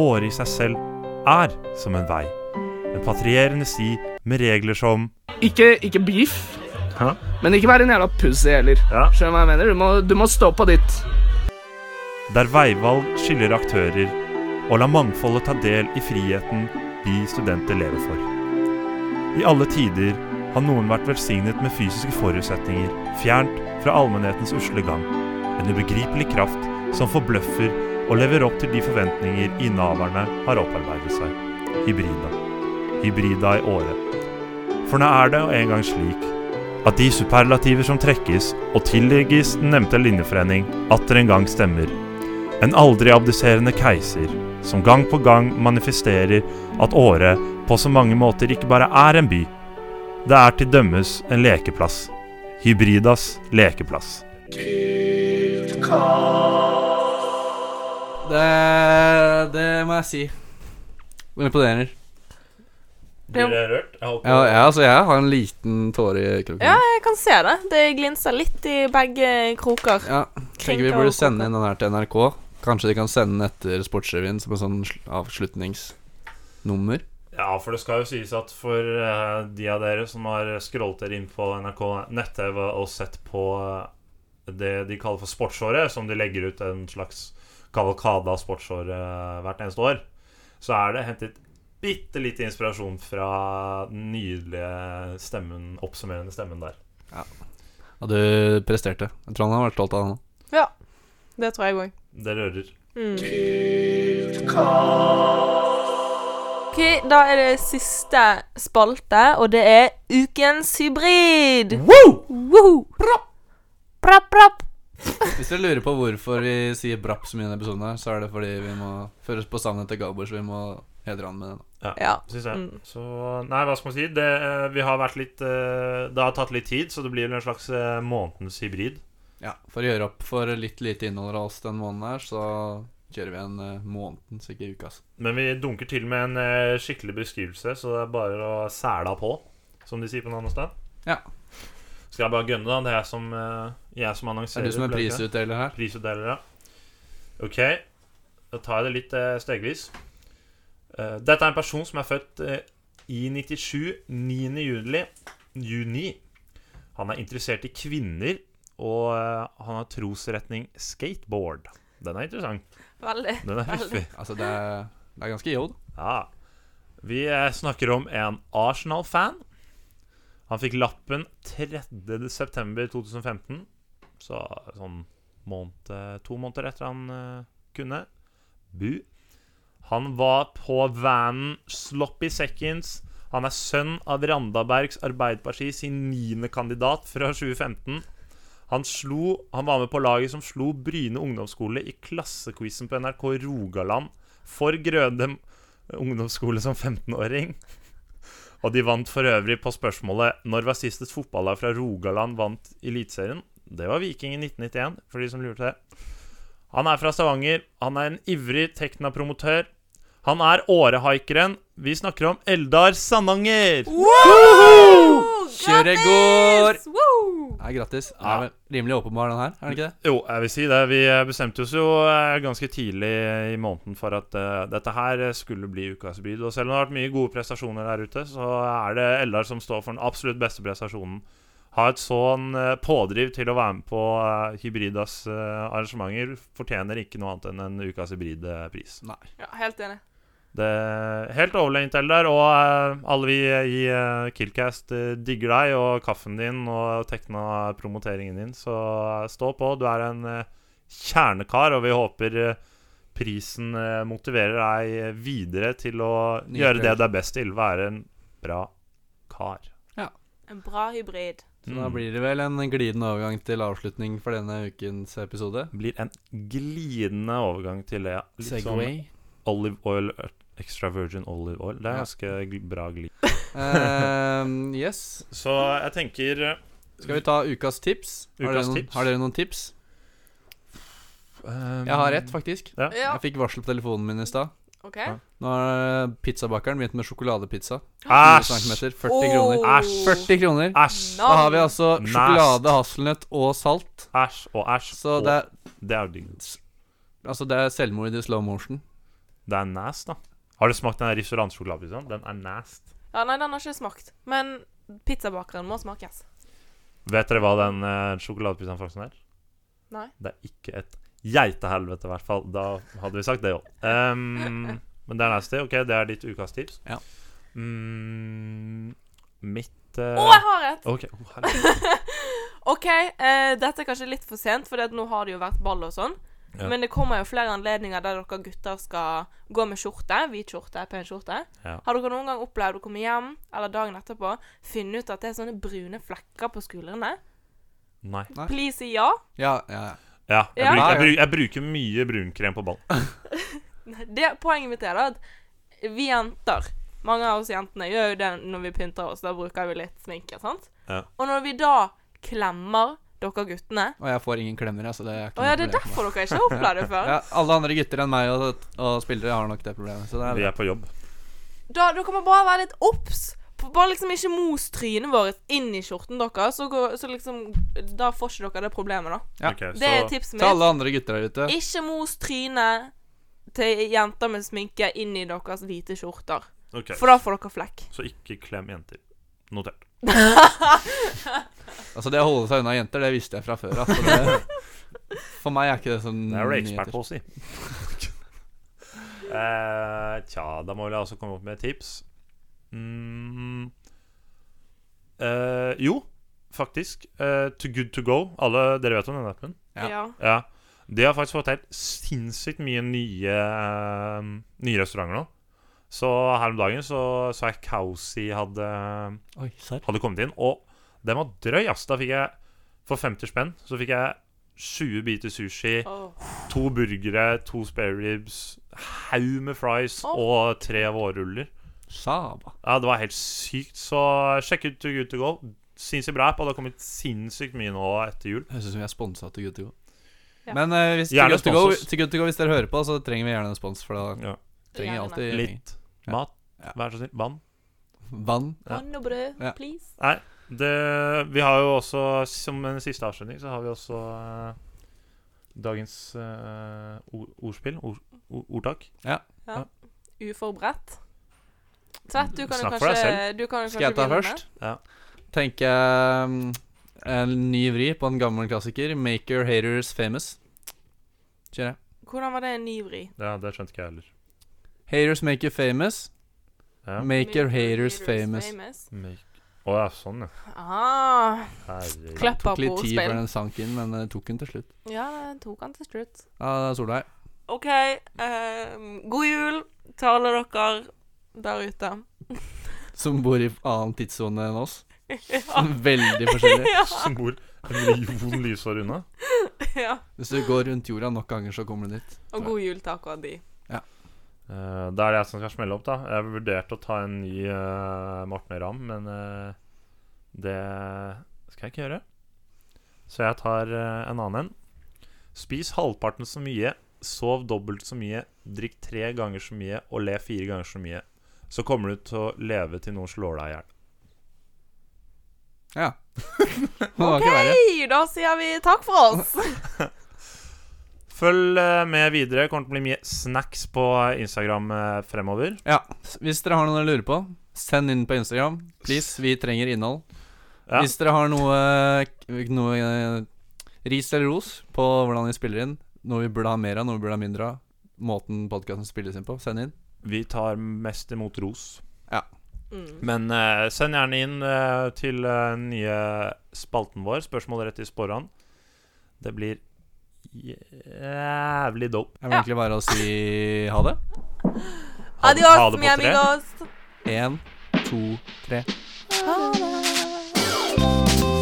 Åre i seg selv er som en vei. En patrierende sti med regler som Ikke, ikke beef, Hæ? men ikke være en jævla pussy heller. Ja. Skjønner du hva jeg mener? Du må, du må stå på ditt. der veivalg skiller aktører, og la mangfoldet ta del i friheten vi studenter lever for. I alle tider har noen vært velsignet med fysiske forutsetninger, fjernt fra allmennhetens usle gang. En ubegripelig kraft som forbløffer og lever opp til de forventninger innehaverne har opparbeidet seg. Hybrida. Hybrida i året. For nå er det jo en gang slik at de superlativer som trekkes og tillegges den nevnte linjeforening, atter en gang stemmer. En aldri abduserende keiser, som gang på gang manifesterer at Åre på så mange måter ikke bare er en by. Det er til dømmes en lekeplass. Hybridas lekeplass. Det, det må jeg si. Imponerer. Blir dere rørt? Jeg Ja, ja, altså, jeg har en liten tåre i kroken. Ja, jeg kan se det. Det glinser litt i begge kroker. Ja, tenker vi burde sende inn den her til NRK. Kanskje de kan sende den etter Sportsrevyen som en sånn sl- avslutningsnummer. Ja, for det skal jo sies at for eh, de av dere som har scrollet dere inn på NRK nett-TV og sett på eh, det de kaller for sportsåret, som de legger ut en slags kavalkade av sportsåret eh, hvert eneste år, så er det hentet bitte litt inspirasjon fra den nydelige stemmen, oppsummerende stemmen der. Og du presterte. Jeg tror han har vært stolt av det nå. Ja, det tror jeg òg. Det rører. Mm. Ok, da er det siste spalte, og det er ukens hybrid. Woo! Propp, propp, propp. Hvis dere lurer på hvorfor vi sier brapp så mye i denne episoden, her, så er det fordi vi må føres på savnet til Gabor, så vi må hedre han med det. nå. Ja. synes jeg. Mm. Så Nei, hva skal man si? Det, eh, vi har vært litt eh, Det har tatt litt tid, så det blir vel en slags eh, månedens hybrid. Ja, For å gjøre opp for litt lite innhold av oss den måneden her, så kjører vi en eh, månedens, ikke altså. ukas. Men vi dunker til med en eh, skikkelig beskrivelse, så det er bare å sæla på, som de sier på noe annet sted. Ja. Skal jeg bare gønne, da? Det er jeg som, eh, jeg som Er annonserer. det du som er blir det ikke? prisutdeler her? Prisutdeler, ja. Ok, da tar jeg det litt eh, stegvis. Eh, dette er en person som er født eh, i 97, 9. Juli, juni. Han er interessert i kvinner, og eh, han har trosretning skateboard. Den er interessant. Veldig. Den er Veldig. fiffig. Altså, det er, det er ganske yo, da. Ja. Vi eh, snakker om en Arsenal-fan. Han fikk lappen 3.9.2015, så sånn måned, to måneder etter han eh, kunne. Bu. Han var på vanen Sloppy Seconds. Han er sønn av Randabergs Arbeiderparti sin niende kandidat fra 2015. Han, slo, han var med på laget som slo Bryne ungdomsskole i klassequizen på NRK Rogaland for Grødem ungdomsskole som 15-åring. Og de vant for øvrig på spørsmålet når var sist et fotballag fra Rogaland vant Eliteserien. Det var Viking i 1991, for de som lurte det. Han er fra Stavanger. Han er en ivrig Tekna-promotør. Han er årehaikeren. Vi snakker om Eldar Sandanger. Woo! Kjøret går! Grattis! Woo! Nei, grattis. Den er vel rimelig åpenbar, den her, er den ikke det? Jo, jeg vil si det. Vi eh, bestemte oss jo eh, ganske tidlig i måneden for at eh, dette her skulle bli ukas bryd. Og selv om det har vært mye gode prestasjoner der ute, så er det Eldar som står for den absolutt beste prestasjonen. Ha et sånn eh, pådriv til å være med på eh, Hybridas eh, arrangementer fortjener ikke noe annet enn en ukas eh, hybridpris. Nei. Ja, helt enig. Det er helt overlegent, Eldar, og eh, alle vi i eh, Killcast eh, digger deg og kaffen din og tekna promoteringen din, så eh, stå på. Du er en eh, kjernekar, og vi håper eh, prisen eh, motiverer deg eh, videre til å Nye gjøre det prøver. du er best til, være en bra kar. En bra hybrid. Så Mm. da blir det vel en glidende overgang til avslutning for denne ukens episode. blir en glidende overgang til det. Litt sånn olive oil, eh, extra virgin olive oil. Det Ja. er ganske gl- bra glid. Ehm, yes. Så jeg tenker eh, Skal vi ta ukas tips? Har, Ukas dere noen, tips? har dere noen tips? Jeg har ett, faktisk. Ja, Jeg fikk varsel på telefonen min i stad. OK. Ja. Nå har eh, pizzabakeren begynt med sjokoladepizza. 100 Æsj! centimeter, 40 kroner. Oh. Æsj. 40 kroner. Æsj! Da har vi altså Nast. sjokolade, hasselnøtt og salt. Æsj og æsj. Så og det er, det er jo digg. altså det er selvmord i slow motion. Det er nast, da. Har du smakt den her restaurant-sjokoladepizzan? Den er nast. Ja, nei, den har ikke smakt. Men pizzabakeren må smakes. Vet dere hva den uh, sjokoladepizzan faktisk er? Nei. Det er ikke et geitehelvete, i hvert fall. Da hadde vi sagt det òg. Um, men det er nasty. Ok, det er ditt ukas tips. Ja. Mm, mitt Å, eh, jeg har et! OK. å, herregud. OK, eh, dette er kanskje litt for sent, for nå har det jo vært ball og sånn. Ja. Men det kommer jo flere anledninger der dere gutter skal gå med skjorte, hvit skjorte, pen skjorte. Ja. Har dere noen gang opplevd å komme hjem eller dagen etterpå finne ut at det er sånne brune flekker på skuldrene? Nei. Nei. Please si ja. Ja, ja, ja. Ja, Ja. jeg, Bruker, jeg, Ja, ja. bruker, jeg bruker mye brunkrem på ballen. Det, poenget mitt er da at vi jenter Mange av oss jentene gjør jo det når vi pynter oss. Da bruker vi litt sminke. sant? Ja. Og når vi da klemmer dere guttene Og jeg får ingen klemmer, jeg, så det er ikke Å ja, det er problem for meg. derfor dere ikke har opplevd det før. Ja, alle andre gutter enn meg og, og spillere har nok det problemet. Så det er Vi er på jobb. Da, dere må bare være litt obs. på- Bare liksom ikke mos trynet vårt inn i skjorten deres, så, går, så liksom Da får ikke dere det problemet, da. Ja. Ok, Det er så, tipset Til mitt. alle andre gutter der ute Ikke mos trynet til jenter med sminke inn i deres hvite skjorter. ok, For da får dere flekk. så ikke klem jenter. Notert. Altså Det å holde seg unna jenter, det visste jeg fra før. Altså, det, for meg er ikke det sånn Det er du nyheter. ekspert på å si. Eh, tja, da må vel jeg også komme opp med et tips. Mm. Eh, jo, faktisk. Eh, to Good To Go. Alle, dere vet om den appen? Ja. Ja. Ja. De har faktisk fått helt sinnssykt mye nye, eh, nye restauranter nå. Så her om dagen så så jeg Kausi hadde, Oi, serr? hadde kommet inn, og den var drøy, ass. Da fikk jeg for 50 spenn så fikk jeg 20 biter sushi, Åh. to burgere, to spare ribs, haug med fries Åh. og tre vårruller. Saba. Ja, det var helt sykt, så sjekk ut Too Good To Go. Sinnssykt bra app, og det har kommet sinnssykt mye nå etter jul. Høres ut som vi er sponsa til Good to go. Ja. Men eh, hvis, til Gjerne good to go, spons oss. til good to go, hvis dere hører på, så trenger vi gjerne en spons, for da Ja. trenger jeg Gjerne. alltid Litt Ja. mat, Ja. vær så snill. Vann. vann. Vann og brød, Ja. please. Nei, det, vi har jo også, som en siste avslutning, så har vi også eh, dagens eh, or- ordspill, ord, ord, ordtak. Uforberedt. Tvedt, du kan jo Snakk for deg kanskje du kan jo Skal kanskje jeg ta begynne først? Ja. Tenke um, en ny vri på en gammel klassiker. Make your haters famous. Kjører jeg. med. Hvordan var det en ny vri? Ja, det skjønte ikke jeg heller. Haters make you famous. Ja. Make your haters famous. Make- Å ja, sånn, ja. Ah, Herregud. Kløpper Tok på litt tid før ordspill. den sank inn, men eh, tok den til slutt. Ja, den tok han til slutt. Ja, Solveig. OK. eh, god jul til alle dere der ute. Som bor i annen tidssone enn oss. Ah. ja. Veldig forskjellig. Som bor en million lysår unna. ja. Hvis du går rundt jorda nok ganger, så kommer du dit. Og god jul til akkurat de. Eh, da er det jeg som skal smelle opp, da. Jeg vurderte å ta en ny eh, Morten Ramm, men eh, det skal jeg ikke gjøre. Så jeg tar eh, en annen en. Spis halvparten så mye, sov dobbelt så mye, drikk tre ganger så mye og le fire ganger så mye. Så kommer du til å leve til noen slår deg i hjel. Ja. Det var ikke verre. Hei, da sier vi takk for oss. Følg eh, med videre. Kommer til å bli mye snacks på Instagram eh, fremover. Ja. s- Hvis dere har noe dere lurer på, send inn på Instagram. Please, vi trenger innhold. Ja. Hvis dere har noe, noe eh, ris eller ros på hvordan vi spiller inn, noe vi burde ha mer av, noe vi burde ha mindre av, måten podkasten spilles inn på, send inn. Vi tar mest imot ros. Mm. Men eh, send gjerne inn eh, til eh, nye spalten vår. Spørsmål rett i sporene. Det blir jævlig dope. Jeg vil Ja. egentlig bare å si ha det. Ha det- ha Adios, det på mi tre. amigos. Én, to, tre. Ha det.